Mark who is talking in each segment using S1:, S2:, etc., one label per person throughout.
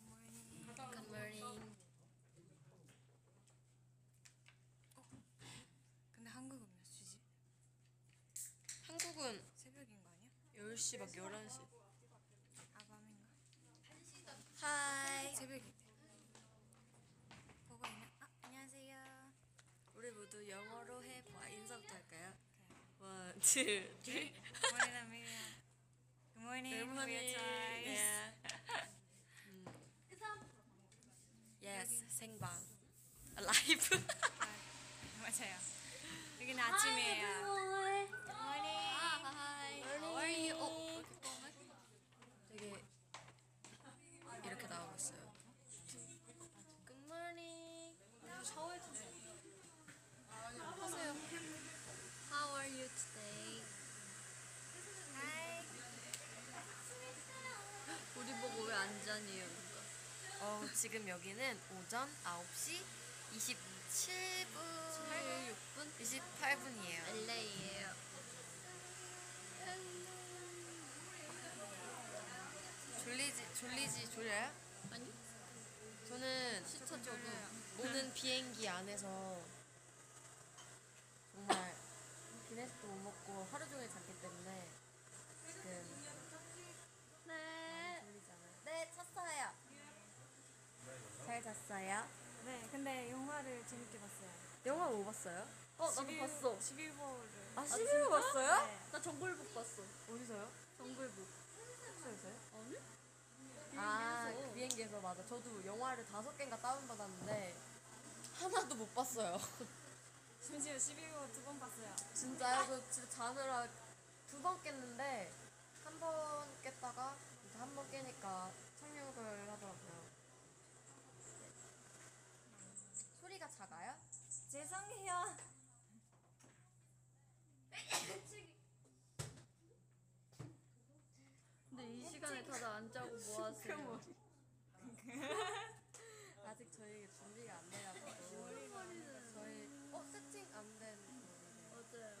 S1: Oh.
S2: 10시 막 11시
S1: 아 밤인가?
S2: 하이
S1: 새벽인데. 보고 있나? 아 안녕하세요.
S2: 우리 모두 영어로 해봐 뭐 인사부터 할까요?
S1: 그래.
S2: One, two, three
S1: Good morning, Amelia. Good morning.
S2: Good morning
S1: We are twice.
S2: yeah. 음. Yes 생방 Live
S1: 아, 맞아요.
S2: 어,
S1: 여기는 아침이에요. Good morning.
S2: Hi How are you? 어, 이렇게 되게 이렇게 나오고 있어요 Good morning 샤워해주세요 How are you today?
S1: Hi.
S2: 우리 보고 왜안 자니 어, 지금 여기는 오전 9시 27분 26분 28분이에요. LA예요. 졸리지 졸리지 졸려요? 아니. 저는 시차 적응. 오는 비행기 안에서 정말 기내식도 못 먹고 하루 종일 잤기 때문에 지금
S1: 네.
S2: 졸리지 않아요. 네, 잤어요. 잘 잤어요?
S1: 네, 근데 영화를 재밌게 봤어요.
S2: 영화 뭐 봤어요? 어, 나도
S1: 11
S2: 봤어.
S1: 11월을.
S2: 아, 시비로 봤어요?
S1: 네.
S2: 나 정글북 봤어. 어디서요? 정글북. 숙소에서요? 아니? 아, 비행기에서. 맞아. 저도 영화를 다섯 개인가 다운받았는데 하나도 못 봤어요.
S1: 심지어 12월 두 번 봤어요.
S2: 진짜요? 저 진짜 자느라 두 번 깼는데 한 번 깼다가 이제 한 번 깨니까 착륙을 하더라고요. 소리가 작아요?
S1: 죄송해요.
S2: 근데 이 시간에 다들 안 자고 뭐 하세요? 아직 저희 준비가 안 돼가지고 저희 어 세팅 안된
S3: 맞아요.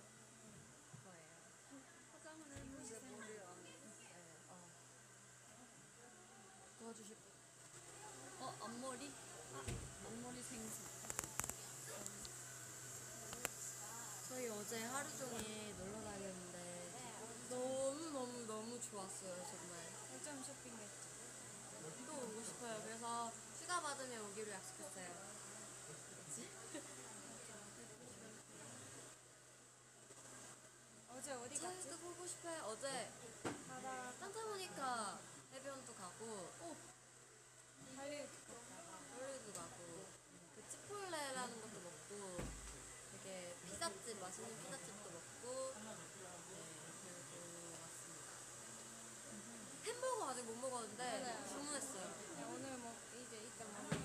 S2: 거예요.
S3: 화장을 해보시면
S2: 네, 어. 도와주실 분?
S3: 어 앞머리?
S2: 아,
S3: 앞머리 생수.
S2: 저희 어제 하루 종일 놀러 다녔는데 너무 너무 너무 좋았어요 정말.
S1: 점 쇼핑했죠.
S2: 또 오고 싶어요. 그래서 휴가 받으면 오기로 약속했어요.
S1: 어제 어디 갔지?
S2: 저희도 보고 싶어요. 어제
S1: 바다
S2: 산타모니카 해변도 가고
S1: 할리
S2: 홀리도 가고 그 치폴레라는 것도 먹고 되게 피자집 맛있는 피자집도 먹고 네 그리고 왔습니다. 햄버거 아직 못 먹었는데 주문했어요.
S1: 네, 오늘 뭐 이제 이따 먹어요.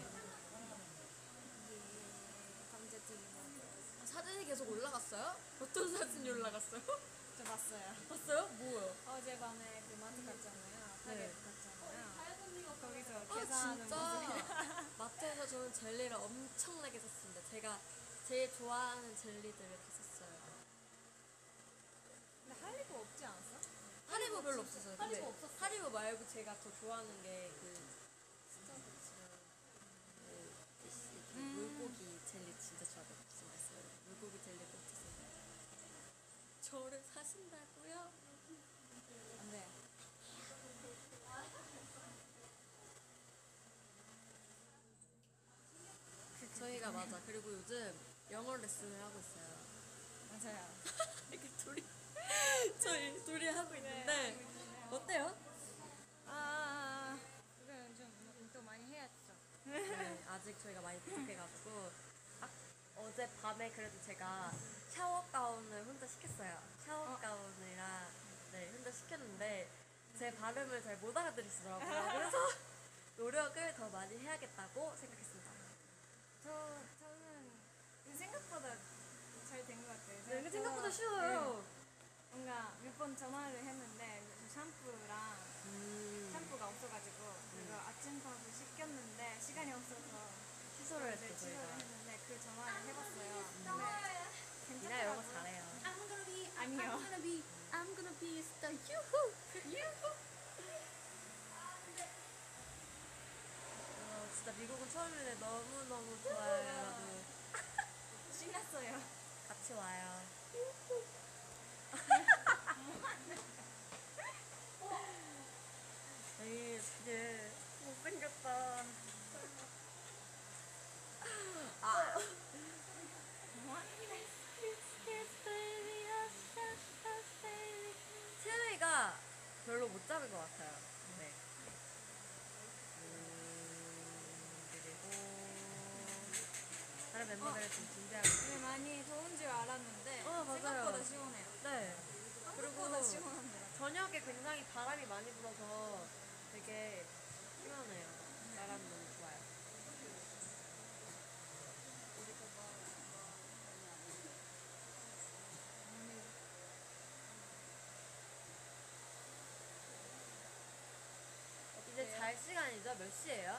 S2: 음.
S1: 예, 감자튀김
S2: 사진이 계속 올라갔어요? 어떤 사진이 올라갔어요?
S1: 저 봤어요.
S2: 봤어요? 뭐요?
S1: 어젯밤에 그 마트 갔잖아요. 타겟
S2: 음. 네.
S1: 갔잖아요. 거기서
S2: 아
S1: 계산하는 모습.
S2: 진짜 마트에서 저는 젤리를 엄청나게 샀습니다. 제가 제일 좋아하는 젤리들을 다 샀어요.
S1: 근데 할리가 없지 않았어?
S2: 하리보 별로 없었어요. 근데
S1: 하리보 없었어요.
S2: 하리보 말고 제가 더 좋아하는 게그 스타벅스랑 그 피시
S1: 음.
S2: 그 물고기 젤리 진짜 좋아하거든요. 진짜 맛있어요. 물고기 젤리 꼭 드세요. 저를 사신다고요?
S1: 안 돼.
S2: 저희가 맞아. 그리고 요즘 영어 레슨을 하고 있어요.
S1: 맞아요.
S2: 이렇게 둘이 저희 둘이 하고
S1: 네,
S2: 있는데
S1: 하고 있네요.
S2: 어때요?
S1: 아, 아, 아. 이거는 좀또 많이 해야죠.
S2: 네, 아직 저희가 많이 부족해가지고 아, 어제 밤에 그래도 제가 샤워 가운을 혼자 시켰어요. 샤워 가운이랑 네 혼자 시켰는데 제 발음을 잘 못 알아들으시더라고요. 그래서 노력을 더 많이 해야겠다고 생각했습니다.
S1: 저 저는 생각보다 잘 된 것 같아요.
S2: 네,
S1: 제가
S2: 이게 생각보다
S1: 또,
S2: 쉬워요.
S1: 네, 뭔가 몇 번 전화를 했는데 그 샴푸랑
S2: 음,
S1: 샴푸가 없어가지고 그래서 아침 밥을 시켰는데 시간이 없어서
S2: 취소를
S1: 네,
S2: 했죠
S1: 취소를
S2: 저희가. 음.
S1: 했는데 그 전화를 해봤어요. 근데
S2: 네, 이나 영어
S1: 괜찮더라고요.
S2: 잘해요.
S3: I'm gonna be
S1: 아니요.
S3: I'm gonna be I'm gonna be star. 유후 유후.
S2: 어, 진짜 미국은 처음인데 너무 너무 좋아요 여러분.
S1: 신났어요.
S2: 음. 어? 뭐 같이 와요. 어. 아, 에이, 얘 못생겼다. 체외가 별로 못 잡은 것 같아요. 네. 음, 그리고 다른 멤버들 좀 준비하고.
S1: 되게 네, 많이 더운 줄 알았는데
S2: 어, 맞아요.
S1: 생각보다 시원해요.
S2: 네.
S1: 아, 생각보다 시원합니다.
S2: 저녁에 굉장히 바람이 많이 불어서 되게 시원해요. 바람 너무 좋아요. 이제 잘 시간이죠? 몇 시예요?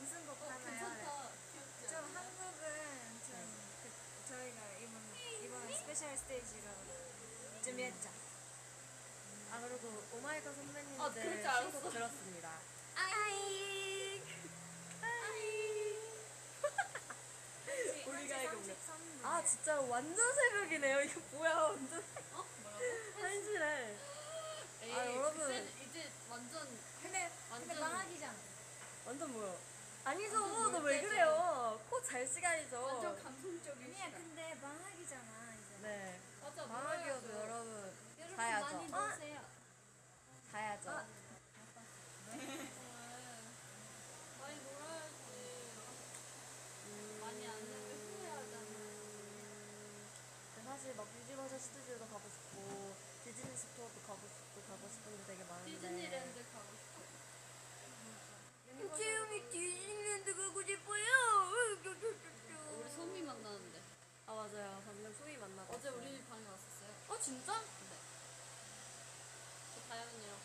S1: 무슨 곡
S4: 어,
S1: 하나요?
S4: 괜찮다. 귀엽지
S1: 좀
S4: 않아요?
S1: 한국은 좀 그, 저희가 이번 이번 스페셜 스테이지로 준비했죠.
S2: 아 그리고 오마이걸 선배님들
S4: 아, 그럴 줄 알았어.
S2: 신곡 들었습니다.
S4: 아잉.
S2: 우리가 이거 뭐-
S1: 33분.
S2: 아 진짜 완전 새벽이네요. 이거 뭐야 완전
S4: 어? 뭐라고?
S2: 한시래.
S4: 에이,
S2: 아, 여러분.
S4: 그때는 이제 완전
S1: 근데 근데
S4: 완전-
S1: 망하기잖아.
S2: 완전 뭐야? 아니죠.
S4: 완전
S2: 너 왜
S4: 놀래죠.
S2: 그래요? 코 잘 시간이죠.
S4: 완전 감성적인
S1: 아니야
S4: 시간.
S1: 근데 망하기잖아 이제.
S2: 네.
S4: 맞아.
S2: 방학이어도
S4: 놀아야죠.
S2: 여러분
S4: 여러분
S2: 자야죠.
S4: 많이
S2: 아.
S4: 노세요.
S2: 자야죠.
S1: 아.
S4: 네. 많이 놀아야지.
S2: 음,
S4: 많이 안 놀면 후회하잖아.
S2: 근데 네, 사실 막 유니버셜 스튜디오도 가고 싶고 디즈니 스토어도 가고 싶고 가고 싶은 데 되게 많은데.
S4: 디즈니랜드 가고 싶어.
S2: 채영이 디즈니랜드 가고 싶어요.
S4: 우리 소미 만나는데.
S2: 아 맞아요. 방금 소희 만나고.
S4: 어제
S2: 왔어요.
S4: 우리 방에 왔었어요.
S2: 어 진짜?
S4: 네. 저 다현이랑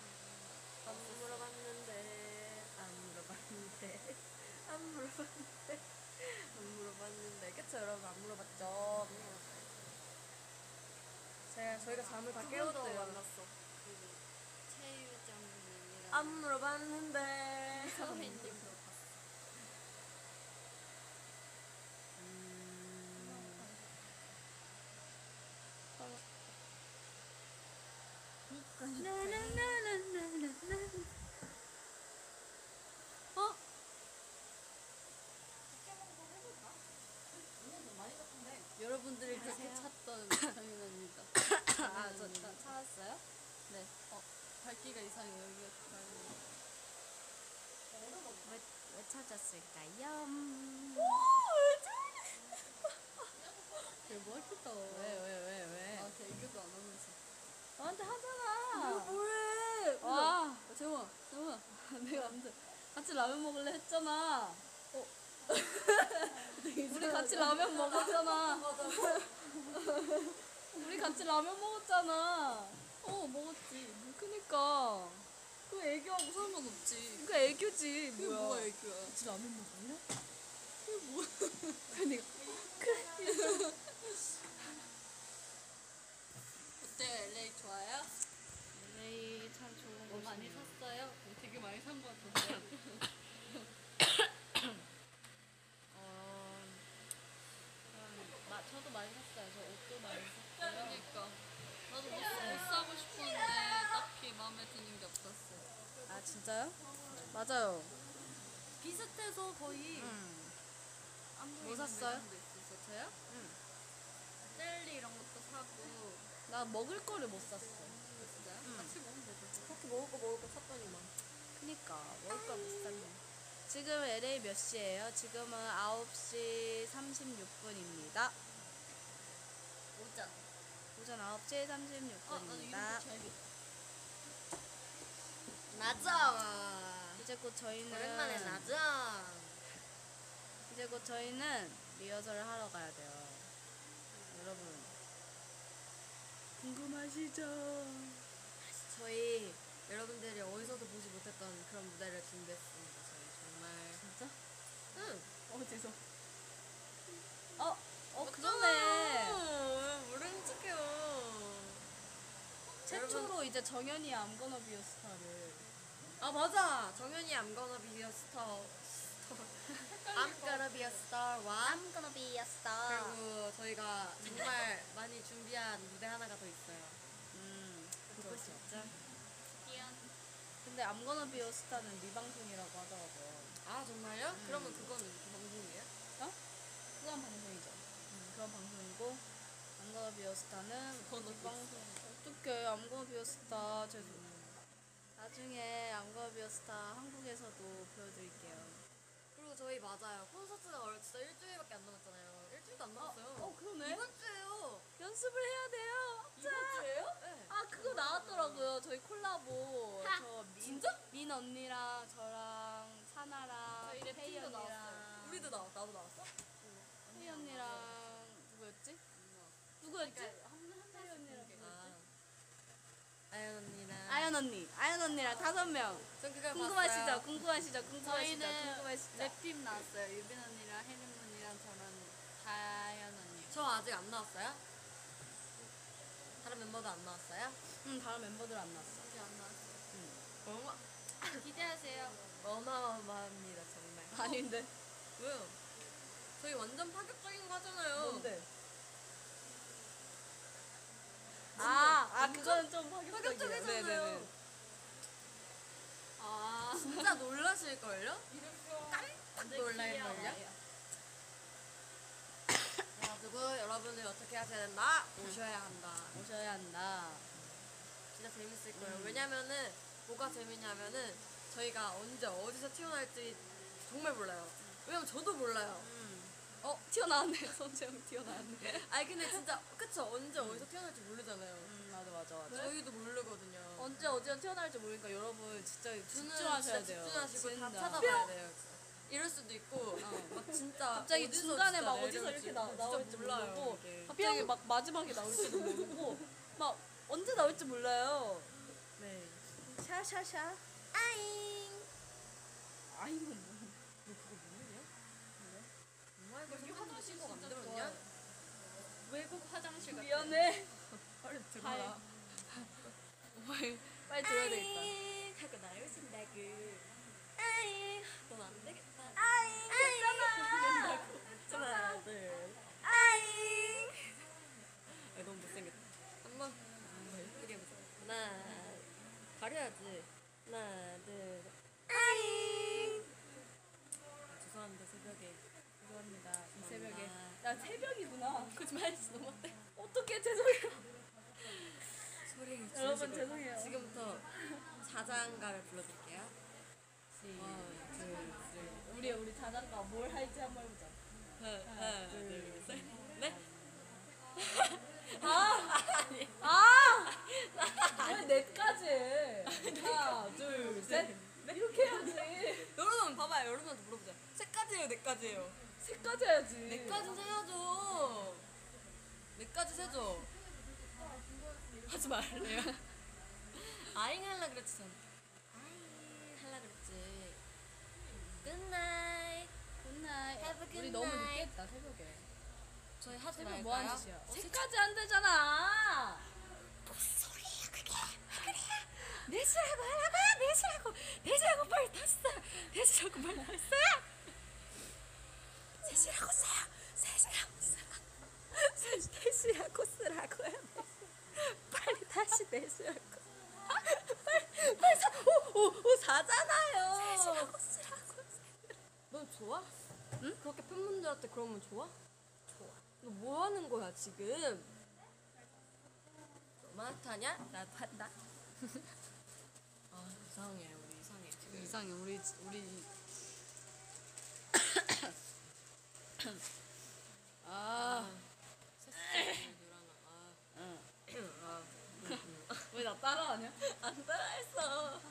S4: 방금
S2: 안 물어봤는데 안 물어봤는데 안 물어봤는데 안 물어봤는데 그쵸 여러분 안 물어봤죠 제가 저희가 잠을 다
S4: 그분도
S2: 깨웠어요
S4: 아, 만났어. 그리고
S2: 안
S4: 최유정님이랑
S2: 물어봤는데
S4: 아, 음. 서혜님도 봤어.
S2: 나나나나나나
S4: 어? 여러분들이 그렇게 찾던 장면입니다.
S2: 아, 저 참-
S4: 찾았어요? 네. 어, 밝기가 이상해. 여기가 밝
S2: 왜, 왜 찾았을까요?
S4: 되게 멋있다. 왜, 왜, 왜, 왜? 나한테 애교도 아, 안 하면서. 나한테
S2: 이거
S4: 하잖아.
S2: 뭐해
S4: 와, 아, 재원, 재원. 내가 아무튼 같이 라면 먹을래 했잖아. 어. 우리 같이 라면 먹었잖아. 우리 같이 라면 먹었잖아. 어, 먹었지. 그니까. 그 애교하고 상관없지.
S2: 이거 애교지
S4: 그게 뭐야, 애교야. 같이 라면 먹을래? 그게 뭐야. 그니까. 어때요, LA 좋아요?
S2: 에이 참 좋은
S4: 뭐 많이 샀어요? 되게 많이 산 것 같은데.
S2: 어, 그럼 마, 저도 많이 샀어요. 저 옷도 많이 샀고요.
S4: 그러니까. 나도 옷, 옷 사고 싶었는데 딱히 마음에 드는 게 없었어.
S2: 아 진짜요? 맞아요. 음.
S4: 비슷해서 거의 안 보이는
S2: 샀어요?
S4: 매장도 있어서 저요? 젤리 이런 것도 사고
S2: 나 먹을 거를 못 샀어.
S4: 진짜요? 같이 먹으면 되죠.
S2: 그렇게 먹을 거 먹을 거 샀더니만. 그니까 먹을 거 못 샀네. 지금 LA 몇 시예요? 지금은 9시 36분입니다.
S4: 오전.
S2: 오전 9시 어,
S4: 아, 나도 이름
S2: 36분입니다.
S4: 붙여야겠다.
S2: 맞아. 이제 곧 저희는
S4: 나죠?
S2: 이제 곧 저희는 리허설을 하러 가야 돼요. 여러분 궁금하시죠? 저희 여러분들이 어디서도 보지 못했던 그런 무대를 준비했습니다. 저희 정말 진짜? 응.
S4: 어, 죄송.
S2: 어, 어
S4: 그러네.
S2: 모른 척해요.
S4: 최초로
S2: 여러분-
S4: 이제 정연이의 암거너비어 스타를
S2: 아 맞아. 정현이 암건어 비디오 스타 I'm gonna be a star one.
S4: I'm gonna be a star.
S2: 그리고 저희가 정말 많이 준비한 무대 하나가 더 있어요.
S3: 음.
S2: 듣고 싶죠?
S4: 미안.
S3: 근데 암거나 비어스타는 미방송이라고 하더라고요. 음.
S2: 아 정말요? 그러면 그건 방송이에요?
S3: 어? 그건 방송이죠. 음, 그건 방송이고 암거나 비어스타는 방송. 어떡해 암거나 비어스타 죄송. 나중에 암거나 비어스타 한국에서도 보여드릴게요.
S2: 그리고 저희 맞아요. 콘서트가 얼- 진짜 일주일밖에 안 남았잖아요. 일주일도 안 남았어요.
S3: 어 그러네.
S2: 이번 주에요.
S3: 연습을 해야 돼요.
S2: 이번 주에요? 네.
S3: 아 그거 나왔더라고요. 저희 콜라보.
S4: 하!
S3: 저 민, 민 언니랑 저랑 사나랑
S4: 저희 랩팀도
S3: 페이 언니랑
S4: 나왔어요.
S2: 우리도 나왔 나도 나왔어?
S3: 페이 언니랑 누구였지? 누구였지? 페이 언니랑
S2: 아 아연 언니랑
S3: 아연 언니, 아연 언니랑 다섯 명.
S2: 전 그걸
S3: 궁금하시죠?
S2: 봤어요.
S3: 궁금하시죠? 궁금하시죠? 궁금하시죠?
S5: 랩팀 나왔어요. 유빈 언니랑 혜림 언니랑 저랑 다현 언니.
S2: 저 아직 안 나왔어요? 다른 멤버도 안 나왔어요?
S3: 응, 다른 멤버들 안 나왔어.
S5: 아직 안 나왔어요.
S2: 어마
S5: 기대하세요.
S2: 어마어마합니다 정말.
S3: 아닌데.
S2: 왜요? 저희 완전 파격적인 거 하잖아요.
S3: 아, 아 그거는 좀 파격적이에요.
S2: 파격적이잖아요.
S3: 네네네.
S5: 아,
S2: 진짜 놀라실걸요?
S5: 이름표.
S2: 딱 놀랄걸요? 그래가지고 여러분들 어떻게 하셔야 된다? 오셔야 한다.
S3: 오셔야 한다.
S2: 진짜 재밌을 거예요. 왜냐면은 뭐가 재밌냐면은 저희가 언제 어디서 튀어나올지 정말 몰라요. 왜냐면 저도 몰라요.
S3: 어 튀어나왔네. 손재영 튀어나왔네.
S2: 아니 근데 진짜 그쵸 언제 어디서 튀어나올지 모르잖아요.
S3: 음, 맞아 맞아 맞아.
S2: 저희도 모르거든요.
S3: 언제 어디서 튀어나올지 모르니까 여러분 진짜
S2: 저는
S3: 집중하셔야
S2: 진짜
S3: 돼요.
S2: 집중하시고 다
S3: 진짜. 어,
S2: 찾아봐야 돼요. 이럴 수도 있고 어, 막 진짜
S3: 갑자기
S2: 어디서
S3: 중간에
S2: 진짜
S3: 막 어디서
S2: 내려올지
S3: 이렇게 나,
S2: 진짜
S3: 나올지
S2: 몰라요,
S3: 모르고
S2: 이게.
S3: 갑자기 막 마지막에 나올지도 모르고 막 언제 나올지 몰라요.
S2: 네.
S4: 음,
S3: 샤샤샤.
S4: 아잉.
S3: 아이고 뭐.
S2: 너 그거 모르냐? 엄마 이거
S5: 여기
S2: 선생님
S5: 화장실
S2: 신고 안
S5: 진짜
S2: 들었냐?
S5: 좋아요. 외국 화장실 같아.
S3: 미안해.
S2: 빨리
S3: 빨리.
S2: 들어와.
S3: 빨리 들어야 되겠다.
S4: 아잉. 하고 나를 신다구. 아잉.
S2: 넌안 되겠다.
S4: 아잉. 괜찮아.
S2: 하나, 둘.
S4: 아잉.
S2: 아, 너무 못생겼다. 한번 예쁘게 해보자. 하나, 가려야지. 하나, 둘.
S4: 아잉.
S2: 아, 죄송합니다, 새벽에.
S3: 죄송합니다. 이
S2: 새벽에.
S3: 나 새벽이구나. 거짓말했어. 너무 어때? 어떻게 죄송해요.
S2: 소리
S3: 여러분
S2: 지르시고.
S3: 죄송해요.
S2: 지금부터 자장가를 불러드릴게요. 하나, 둘, 셋.
S3: 우리 우리 자장가 뭘 할지 한번 해보자.
S2: 하나, 둘, 셋. 네?
S3: 아! 왜 넷까지? 해? 하나, 둘, 셋. 이렇게 해야지.
S2: 여러분 봐봐요. 여러분한테 물어보자. 셋까지예요, 넷까지예요?
S3: 셋까지 해야지.
S2: 넷까지 세야죠. 넷까지 세죠. 하지 말래요. 아잉 할라 그랬지 전. 아잉 할라 그랬지.
S4: Good night.
S3: 굿나잇.
S4: Have a good
S3: 우리 너무 늦게
S4: night.
S3: 했다 새벽에.
S2: 저희 하지
S3: 새벽
S2: 말까요?
S3: 뭐 하는 짓이야? 셋까지 안 되잖아.
S4: 소리야 그게 왜 그래야 내시라고 하라고 내시라고 내시라고 말 다했어 내시라고 말 다했어 내시라고 써요 내시라고 써 내시라고 쓰라고요 빨리 다시 내시라고 빨리 빨리
S2: 오오 사잖아요.
S4: 내시라고 쓰라고
S2: 너 좋아? 응? 그렇게 팬분들한테 그러면 좋아? 좋아. 너 뭐 하는 거야 지금? 너만 타냐? 나도 한다. 아 이상해 우리 이상해 지금.
S3: 이상해 우리 우리. 아, 응. 왜 나 따라하냐?
S2: 안 따라했어.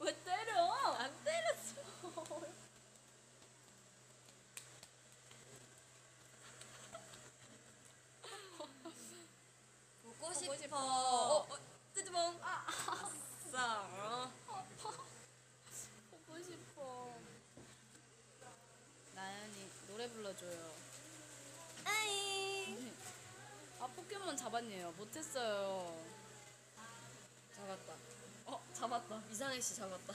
S3: 왜 때려?
S2: 안 때렸어. 보고 싶어. 어, 어, 뜨지봉. 아싸. 어.
S3: 보고 싶어. 나연이 노래 불러줘요.
S4: 아잉
S3: 아 포켓몬 잡았네요. 못했어요.
S2: 잡았다.
S3: 어 잡았다.
S2: 어, 이상해 씨 잡았다.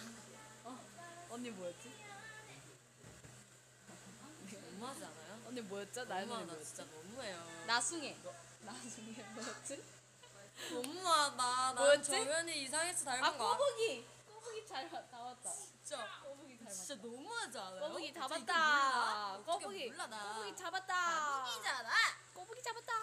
S3: 언니 뭐였지?
S4: 너무하지 않아요?
S2: 언니 뭐였죠? 나연이
S4: 너무하다
S2: 뭐였지?
S4: 진짜 너무해요.
S2: 나숭해. 나숭해 뭐였지?
S4: 너무하다. 난
S2: 뭐였지?
S4: 정연이 이상해서 닮은
S2: 아
S4: 거 아-
S2: 꼬부기. 꼬부기 잘 봐- 나왔다.
S4: 진짜.
S2: 꼬부기 잘 봤다.
S4: 진짜 너무하지 않아요?
S2: 꼬부기
S4: 진짜 이거
S2: 잡았다.
S4: 몰라? 어떻게
S2: 꼬부기.
S4: 몰라 나.
S2: 꼬부기 잡았다.
S4: 바보기잖아.
S2: 꼬부기 잡았다.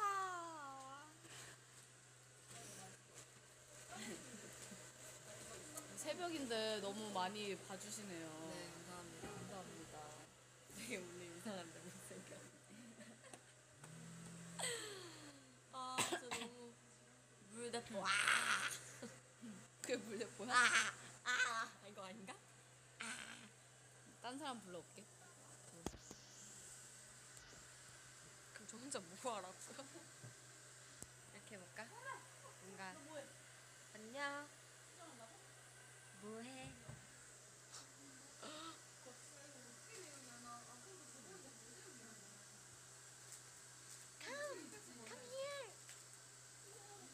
S2: 새벽인데 너무 많이 봐주시네요.
S4: 네 감사합니다.
S2: 감사합니다.
S4: 되게 오늘 이상한데 못생겨. 아 진짜 너무 물대포. 아. 와
S2: 그게 물레 뭐야?
S4: 아, 이거 아닌가?
S2: 딴 사람 불러올게.
S4: 그럼 저 혼자 뭐 알았어?
S1: 이렇게 해볼까? 뭔가 안녕 뭐해?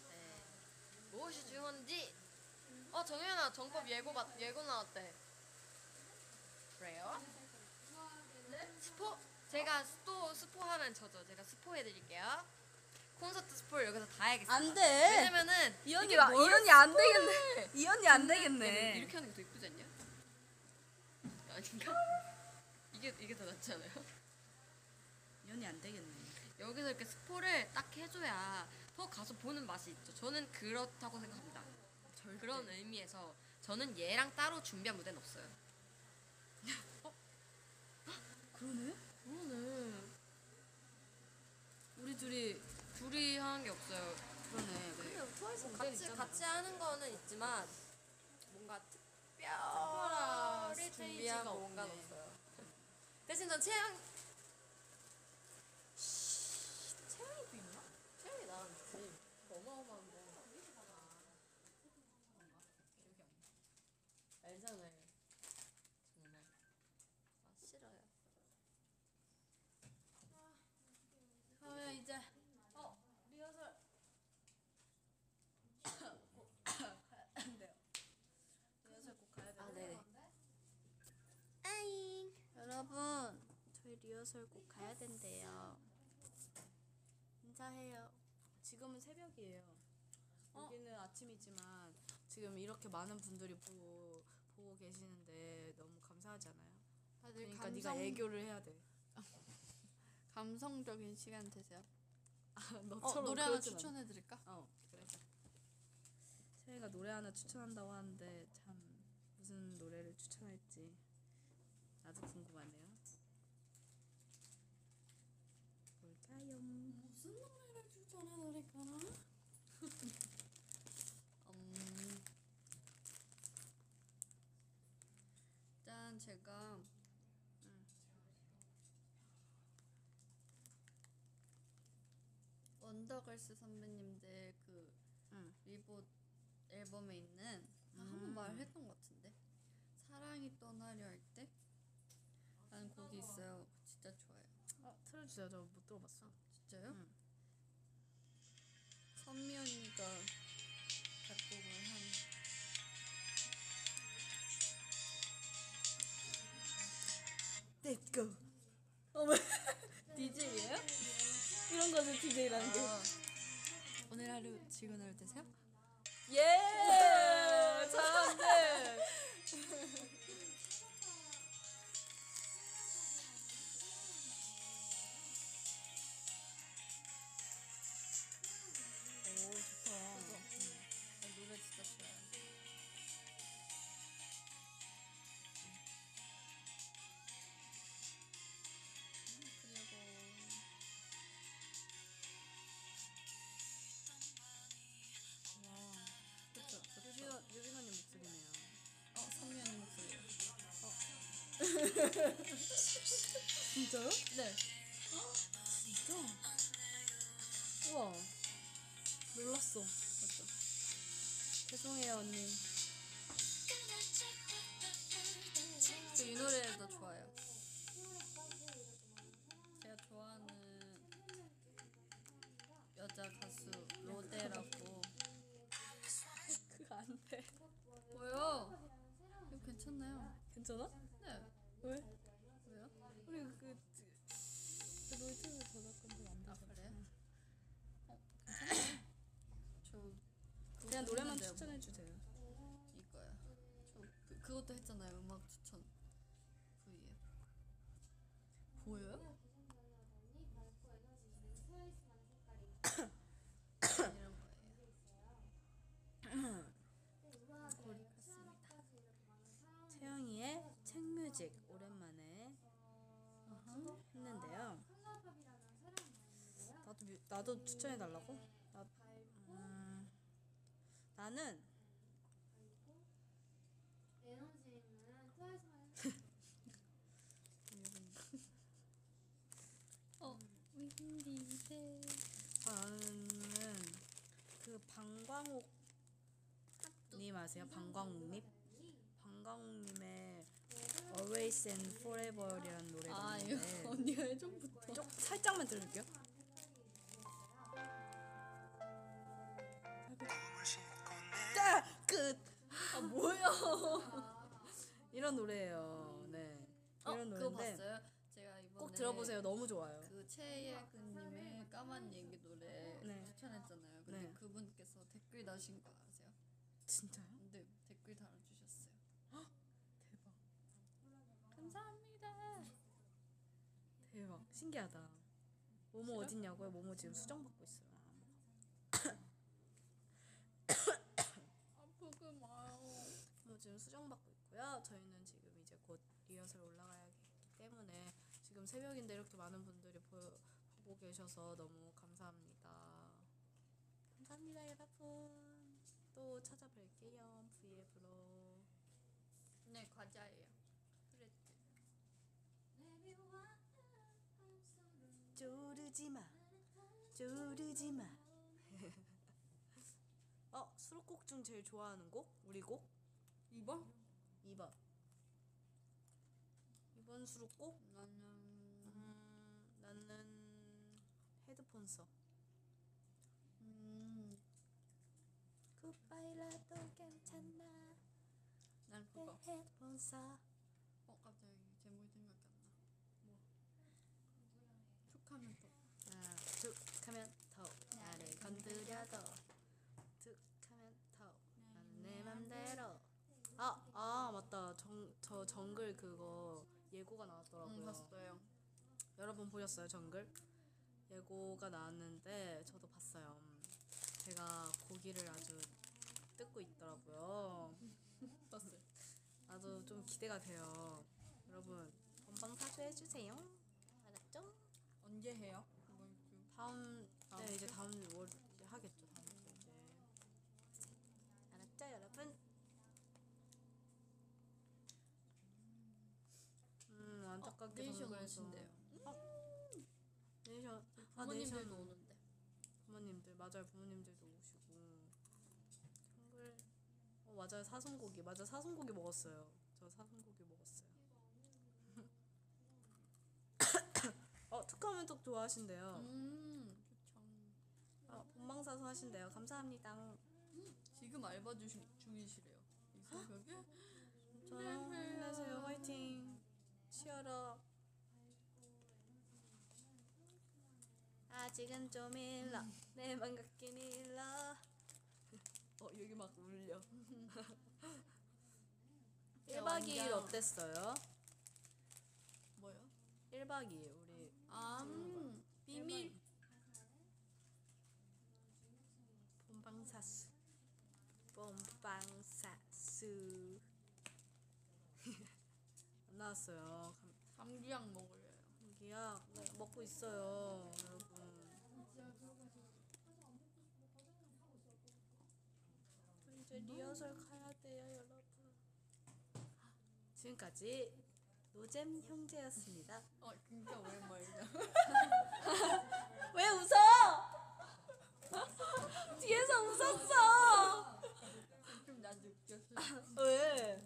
S1: 네. 무엇이 중요한지 어 정연아 정법 예고 받 예고 나왔대 그래요? 스포 제가 또 스포하면 저죠 제가 스포해드릴게요 콘서트 스포를 여기서 다 해야겠어요
S6: 돼.
S1: 왜냐면은
S6: 이 언니 막- 이 언니 안 되겠네. 이 언니 안
S4: 얘는
S6: 되겠네.
S4: 이렇게 하는 게 더 이쁘지 않냐? 아닌가? 이게 이게 더 낫지 않아요?
S6: 이 언니 안 되겠네.
S4: 여기서 이렇게 스포를 딱 해줘야 더 가서 보는 맛이 있죠. 저는 그렇다고 생각합니다. 그런 의미에서 저는 얘랑 따로 준비한 무대는 없어요.
S6: 그러네.
S4: 우리 둘이 둘이 하는 게 없어요.
S6: 그러네.
S1: 같이 같이 하는 거는 있지만 뭔가 특별히 준비한 뭔가 없어요. 대신 전 채영 채영이도 있나? 채영이 나랑 있지. 어마어마한 거. 알잖아요. 정말. 아 싫어요. 아,
S4: 하우야 이제
S1: 어, 아 네네.
S7: 아잉 여러분 저희 리허설 꼭 가야 된대요 인사해요
S2: 지금은 새벽이에요.
S4: 어?
S2: 여기는 아침이지만 지금 이렇게 많은 분들이 보고, 보고 계시는데 너무 감사하잖아요.
S4: 다들
S2: 그러니까
S4: 네, 감성
S2: 네가 애교를 해야 돼.
S4: 감성적인 시간 되세요.
S2: 너처럼
S4: 어, 노래 하나
S2: 그러진 않아.
S4: 추천해 드릴까?
S2: 어 그래. 채혜가 노래 하나 추천한다고 하는데 참 무슨 노래를 추천할지 나도 궁금하네요. 뭘까요?
S4: 음. 일단 제가 음. 원더걸스 선배님들 그
S2: 응. 음.
S4: 리보 앨범에 있는 아, 한번 말했던 것 같은데 사랑이 떠나려 할 때? 라는 곡이 있어요 진짜 좋아요
S2: 어 틀어주세요. 저 못 들어봤어.
S4: 진짜요?
S2: 응.
S4: 선미 언니가 작곡을 한
S6: Let's go.
S2: DJ예요? 이런 거는 DJ라는 게.
S4: 오늘 하루 즐거운 하루 되세요.
S2: 아. 예! 잘한데.
S4: 노래 진짜 좋아요. 그리고
S2: 그렇죠. 유빈 유빈 언니 목소리네요.
S4: 어 선미 언니 목소리.
S2: 진짜요?
S4: 네.
S2: 우와. 놀랐어. 맞죠. 죄송해요 언니.
S4: 저이 노래도 좋아요. 제가 좋아하는 여자 가수 로데라고.
S2: 그거 안 돼.
S4: 뭐요? 이거 괜찮나요?
S2: 괜찮아?
S4: 네.
S2: 왜?
S4: 왜요?
S2: 우리 그
S4: 노이즈 저작권도 안
S2: 아
S4: 되잖아.
S2: 그래?
S4: 저
S2: 그냥 노래만
S4: 했는데요,
S2: 추천해 주세요.
S4: 뭐. 이거요. 저 그, 그것도 했잖아요. 음악 추천 VF.
S2: 보여요?
S4: 이런 거예요.
S2: 태영이의 책뮤직 오랜만에
S4: 어?
S2: 했는데요. 나도 뮤- 나도 추천해 달라고? 나 음, 나는
S4: 어, 윈디세.
S2: 저는 그 방광옥 님 아세요? 방광옥님? 방광옥님의 Always and Forever이라는 노래가
S4: 아, 이거
S2: 있는데
S4: 언니가 예전부터.
S2: 쪽 살짝만 들을게요. 아, 끝.
S4: 아, 뭐야?
S2: 이런 노래예요. 네.
S4: 어,
S2: 이런
S4: 그거
S2: 노래인데
S4: 봤어요? 네. 제가 이번에
S2: 꼭 들어보세요. 너무 좋아요.
S4: 그 최예근님의 까만 얘기 노래
S2: 네.
S4: 추천했잖아요. 근데
S2: 네.
S4: 그분께서 댓글 다신 거 아세요?
S2: 진짜요?
S4: 네, 댓글 달아주셨어요.
S2: 대박.
S4: 감사합니다.
S2: 대박. 신기하다. 모모 어딨냐고요? 모모 지금 수정 받고 있어요.
S4: 아프게 마요.
S2: 모모 지금 수정 받고 있고요. 저희는 지금 이제 곧 리허설 올라가기 때문에 지금 새벽인데 이렇게 많은 분들이 보, 보고 계셔서 너무 감사합니다. 감사합니다, 여러분. 또 찾아뵐게요. 브이앱으로.
S4: 네, 과자예요. 그랬지.
S2: 조르지 마. 조르지 마. 어, 수록곡 중 제일 좋아하는 곡? 우리 곡?
S4: 2번?
S2: 2번. 2번 수록곡?
S4: 나는
S2: 음, 나는 헤드폰 써.
S4: 음,
S2: 굿바이라도 괜찮나?
S4: 난
S2: 내
S4: 그거.
S2: 헤드폰 써.
S4: 어, 갑자기 제목이 생각이 안 나. 뭐? 툭하면 또.
S2: 하나, 아, 툭 하면 더 나를 건드려도 툭 하면 더 나는
S4: 네,
S2: 내 맘대로 아, 아 맞다 정, 저 정글 그거 예고가 나왔더라고요
S4: 응, 봤어요.
S2: 여러분 보셨어요 정글? 예고가 나왔는데 저도 봤어요 음, 제가 고기를 아주 뜯고 있더라고요
S4: 봤어요.
S2: 나도 좀 기대가 돼요 여러분 건방 사죄해주세요 알았죠?
S4: 언제 해요? 그거 그
S2: 다음
S4: 다음
S2: 네
S4: 주?
S2: 이제 다음 월 이제 하겠죠 다음 주 이제 알았죠 여러분 음 안타깝게
S4: 네이션
S2: 방송에서-
S4: 어, 오신대요.
S2: 네이션 아
S4: 부모님들도
S2: 네이션
S4: 오는데.
S2: 부모님들 맞아요 부모님들도 오시고 한글 어 맞아요 사슴고기 맞아 사슴고기 먹었어요 저 사슴고기 먹었어요 어 특허면 톡 좋아하신대요
S4: 음, 그쵸.
S2: 어, 본방사수 하신대요 감사합니다
S4: 지금 알바 주시, 중이시래요. 이 새벽에?
S2: 저요 힘내세요 화이팅 치열어 아직은 좀 일러
S4: 음.
S2: 내 맘 같긴 일러
S4: 어, 여기 막 울려.
S2: 1박 2일
S4: 네, 완전-
S2: 어땠어요?
S4: 뭐요?
S2: 1박 2일 우리
S4: 아, 음, 비밀.
S2: 네, 뭐. 본방사수 본방사수 안 나왔어요 감-
S4: 감기약 먹으려요.
S2: 감기약 네, 먹고 있어요 여러분 저 이제 리허설 가야 돼요 여러분 지금까지 노잼 형제였습니다
S4: 어, 진짜 오랜만이다.
S2: 왜 웃어? 뒤에서 웃었어
S4: 아. 좀나 느꼈어.
S2: 왜?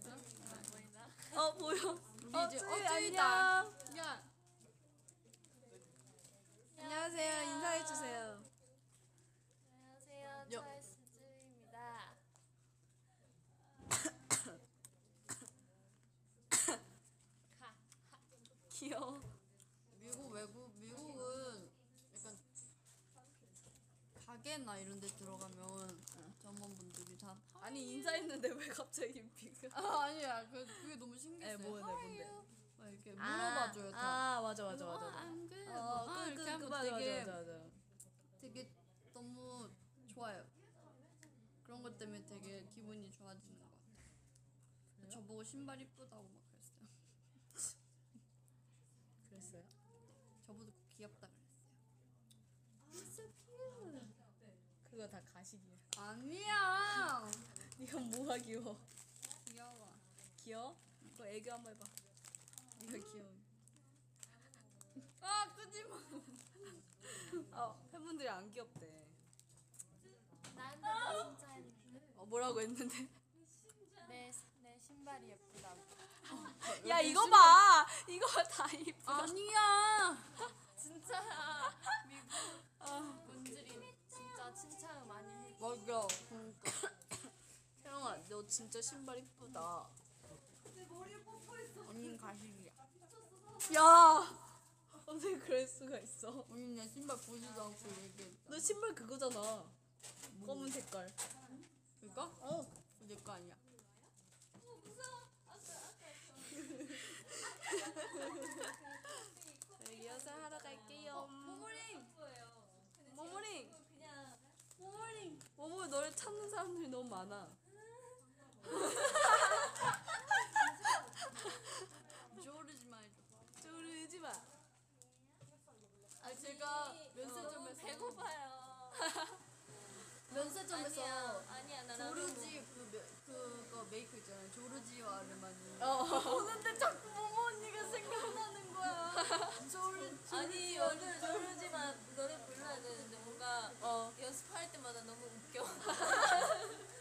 S2: 어 보여 어
S4: 이제
S2: 쭈이
S4: 어, 쭈이다.
S2: 안녕
S4: 야,
S2: 안녕하세요 인사해주세요
S1: 안녕하세요.
S4: 여-
S1: 차이스즈입니다.
S2: 귀여워
S4: 미국 외국 미국은 가게나 이런 데 들어가면 전문분들이 다
S2: 아니 인사했는데 왜 갑자기 비가?
S4: 아, 아니야 그, 그게 너무 신기했어요
S2: 에, 뭐야,
S4: How
S2: 네,
S4: are
S2: 뭔데?
S4: you? 막 이렇게 물어봐줘요 다
S2: 아 맞아 맞아 맞아.
S4: 아, I'm good
S2: 어,
S4: 아,
S2: 그,
S4: 이렇게
S2: 그, 그,
S4: 하면
S2: 맞아,
S4: 되게
S2: 맞아, 맞아, 맞아.
S4: 되게 너무 좋아요 그런 것 때문에 되게 기분이 좋아지는 것 같아요 저보고 신발 이쁘다고 막 그랬어요
S2: 그랬어요?
S4: 저보고 귀엽다 그랬어요
S2: 그거 다 가식이야.
S4: 아니야
S2: 네가 뭐가 귀여워?
S4: 귀여워
S2: 귀여워? 그거 애교 한 번 해봐. 네가 귀여워.
S4: 아 끄지마
S2: 아 팬분들이 안 귀엽대.
S1: 나는 진짜 했는데
S2: 어, 뭐라고 했는데?
S1: 내, 내 신발이 예쁘다고
S2: 야 이거 봐. 이거 다 입.
S4: 어, 아니야
S1: 진짜 미국 분들이 진짜 칭찬을 많이 해주고
S2: 맞아. 그러니까. 태영아 너 진짜 신발 이쁘다.
S4: 언니는 가식이야
S2: 야. 어떻게 그럴 수가 있어?
S4: 언니 내 신발 보지도 않고 얘기했다
S2: 너 신발 그거잖아. 검은 색깔.
S4: 그니까? 어 내거 아니야
S2: 저희 리허설 하러 갈게요. 모모링. 모모링. 모모링. 모모 너를 찾는 사람들이 너무 많아.
S4: 조르지 말고
S2: 쪼르지 마.
S4: 아 제가 면세점에서 배고파요. 면세점에서
S1: 아니야 나
S4: 조르지 그 며- 그거 메이크 있잖아요. 조르지와 아르마니.
S2: 어.
S4: 보는데 자꾸 모모 언니가 생각나는 거야. 조르
S1: 아니 오늘 조르지만 노래 불러야 되는데 뭔가
S2: 어.
S1: 연습할 때마다 너무 웃겨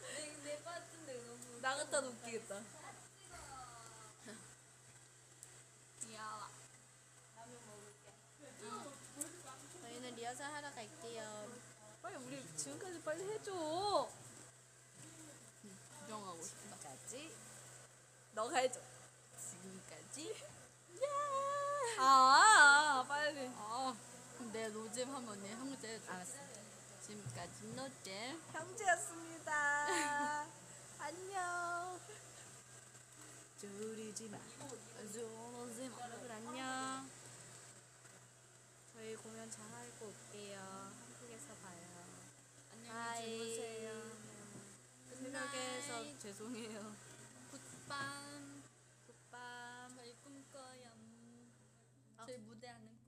S1: 내, 내 빠진데 너무 웃겨.
S2: 나갔다 웃기겠다.
S4: 귀여워.
S2: 저희는 리허설 하러 갈게요. 빨리 우리 지금까지 빨리 해줘.
S4: 부정하고 싶어.
S2: 지금까지 너가 해줘.
S4: 지금까지.
S2: 아, 아 빨리.
S4: 아 근데 노잼 하면 언니 형제 해줘. 알았어. 지금까지 노잼.
S2: 형제였습니다. 안녕. 졸이지 마.
S4: 노잼 여러분 안녕.
S2: 저희 공연 잘 하고 올게요. 한국에서 봐요.
S4: 안녕히 주무세요.
S2: 네. 새벽에서 죄송해요.
S4: 굿밤.
S2: 굿밤.
S4: 아. 저희 꿈꿔요. 저희 무대하는 아.